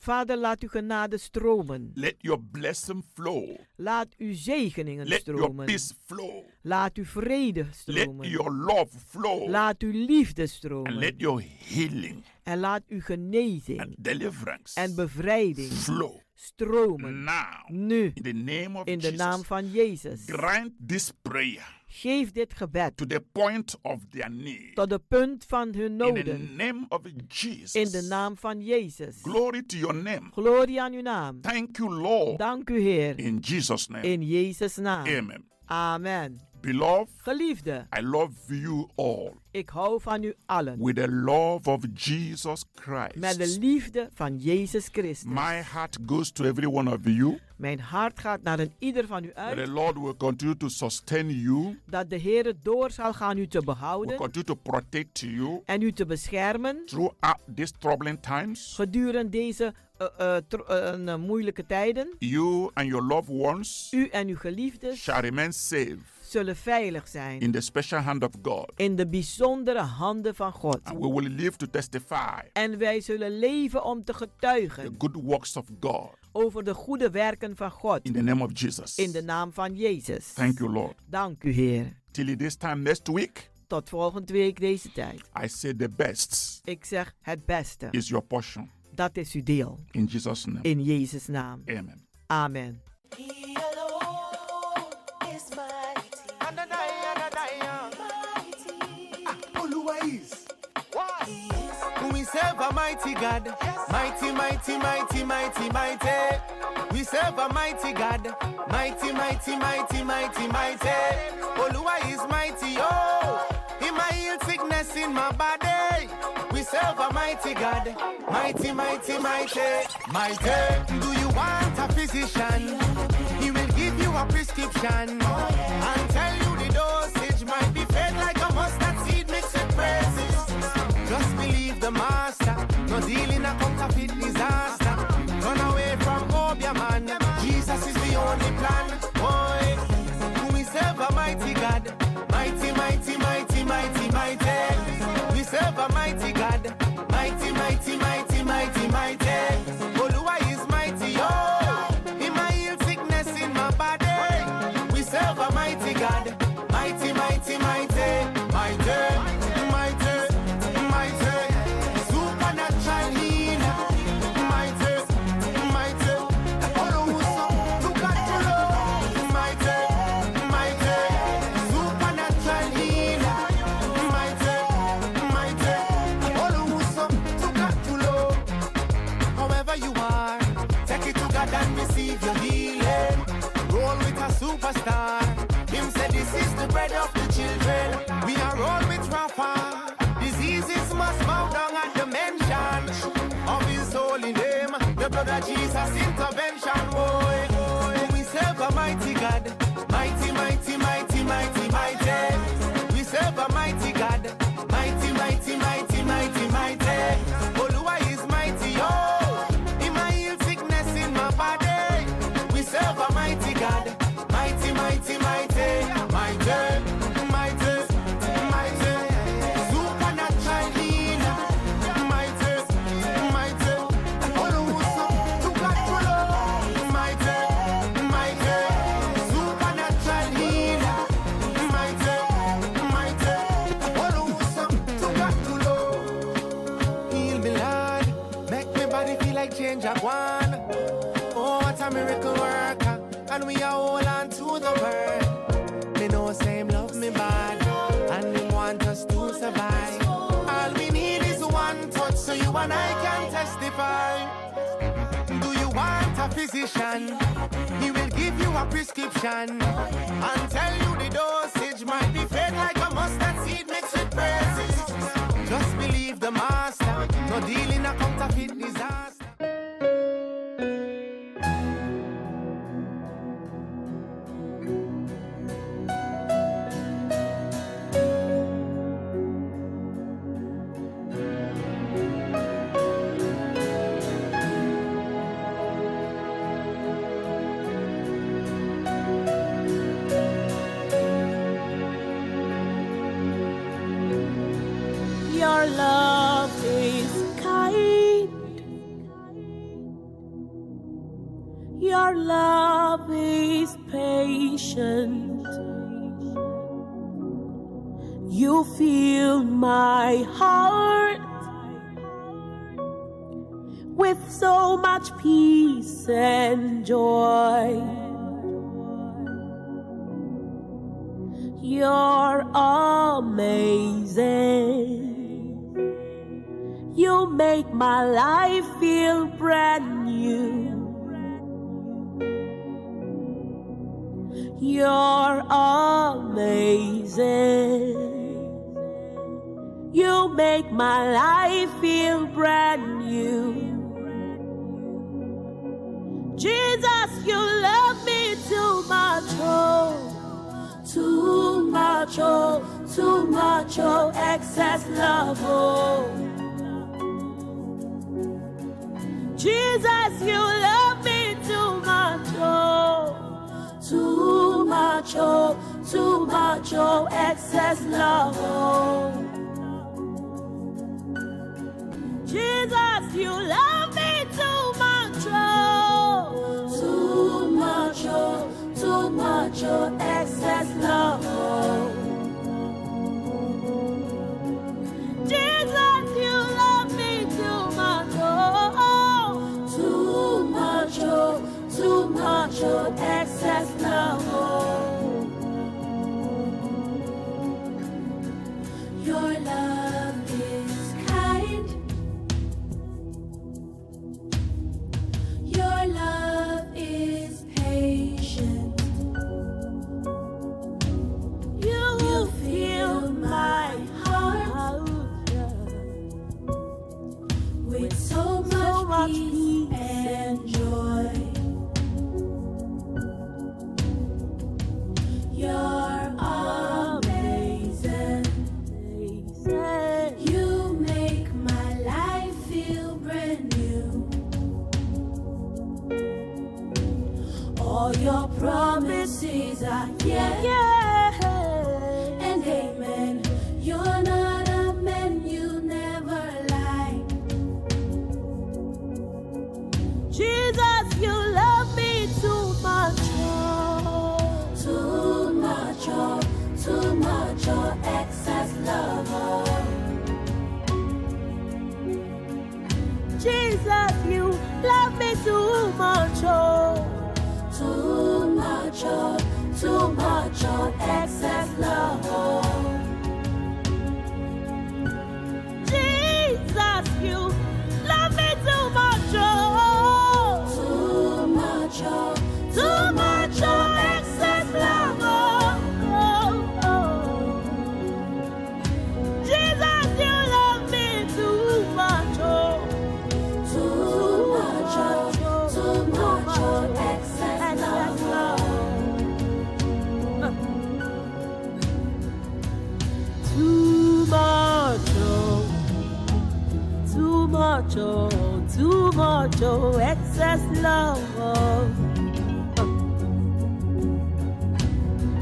Vader, laat uw genade stromen. Let your blessing flow. Laat uw zegeningen Let your stromen. peace flow. Laat uw vrede Let stromen. your love flow. Laat uw liefde And stromen. let your healing En laat uw genezing and deliverance en bevrijding flow stromen. now. Nu, In the name of in de Jesus. naam van Jezus. Grant this prayer Geef dit gebed to the point of their need. tot de punt van hun In the noden. name of Jesus. In de naam van Jezus. Glory to your name. Glorie aan uw naam. Thank you, Lord. Dank u, Heer. In Jesus' name. In Jezus' naam. Amen. Amen. Beloved, Geliefde, I love you all ik hou van u allen. with the love of Jesus Christ. Met de liefde van Jezus My Christus. heart goes to every one of you. Mijn hart gaat naar een ieder van u That the uit. Lord will continue to sustain you, Dat de Heer het door zal gaan u te will behouden continue to protect you en u te beschermen. throughout these troubling times. Gedurende deze eh, eh, tr- eh, eh, moeilijke tijden. You and your loved ones U en uw geliefden shall remain safe zullen veilig zijn. in the special hand of God. In de bijzondere handen van God. And we will live to testify En wij zullen leven om te the getuigen good works of God over de goede werken van God. in the name of Jesus. In de naam van Jezus. Thank you, Lord. Dank u, Heer. Till this time next week, Tot volgende week deze tijd. I say the best Ik zeg het beste. is your portion. Dat is uw deel. In Jesus' name. In Jezus' naam. Amen. Amen. He alone is mighty. Adonai, Adonai, mighty. Why? We serve a mighty God, mighty, mighty, mighty, mighty, mighty. We serve a mighty God, mighty, mighty, mighty, mighty, mighty. Oluwa is mighty, oh. heal sickness in my body. We serve a mighty God, mighty, mighty, mighty, mighty. Do you want a physician? He will give you a prescription and Oh, tell you the dosage might be fed like a mustard seed mixed with praises. Just believe the master, no dealing a counterfeit disaster. Run away from Obia man, Jesus is the only plan. Boy, we serve a mighty God, mighty, mighty, mighty, mighty, mighty. We serve a mighty God, mighty, mighty, mighty, mighty, mighty. Oluwa is mighty, oh. He might heal sickness in my body. We serve a mighty God, mighty, mighty, mighty, mighty. Mighty, mighty, supernatural healer. Mighty, mighty, awesome. Look at the Lord. Mighty, mighty, supernatural healer. Mighty, mighty, awesome. Look at the Lord. However you are, take it to God and receive your healing. Roll with a superstar. Him said, This is the bread of the children. We are roll with Rafa. Diseases must bow down at the mention of His holy name. The blood of Jesus intervention. Boy, boy. we serve a mighty God. Mighty, mighty, mighty, mighty, mighty. We serve a mighty God. Mighty, mighty, mighty, mighty, mighty. Oluwa is mighty, oh. He might heal sickness in my body. We serve a mighty God. Mighty, mighty, mighty, mighty, mighty, mighty. Supernatural healer. Mighty, mighty. Awesome. Look at the Lord. Mighty, mighty. Supernatural healer. Mighty, mighty. Awesome. Look at the Lord. Heal me, Lord. Make me body feel like change I want. Oh, what a miracle worker. And we are all on to the word. Me know same love me bad. And him want us to survive. All we need is one touch so you and I can testify. Do you want a physician? He will give you a prescription and tell you the dosage might be fed like a mustard seed mixed with praises. Just believe the master, no dealing a counterfeit disaster. Your love is kind. Your love is patient. You fill my heart with so much peace and joy. You're amazing. You make my life feel brand new. You're amazing. You make my life feel brand new. Jesus, you love me too much. Oh too much, oh, too much, oh, excess love, oh. Jesus, you love me too much, oh, too much, oh, too much, oh, excess love, oh. Jesus, you love me too much, oh, too much, oh, too much, oh, excess love. Jesus, you love me too much, oh, too much, oh, too much, oh, excess love. Your love is kind. Your love is patient. oh, oh. oh. oh, much, oh, too much, oh, excess love. Oh.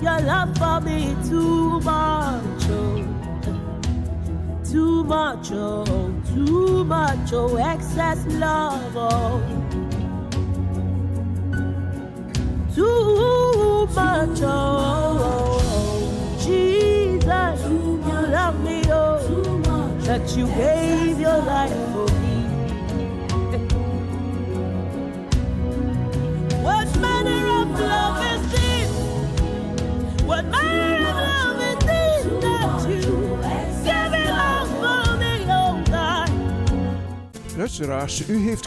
Your love for me too much, oh, too much, oh, too much, oh, excess love, oh. Too much, oh, Jesus, you love me, oh, that you gave your life for me. What manner of love is this? What manner of love is this that you gave it all for me, oh God? Luisteraars, u heeft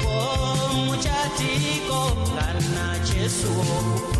Oh, muchachito, gana Jesús.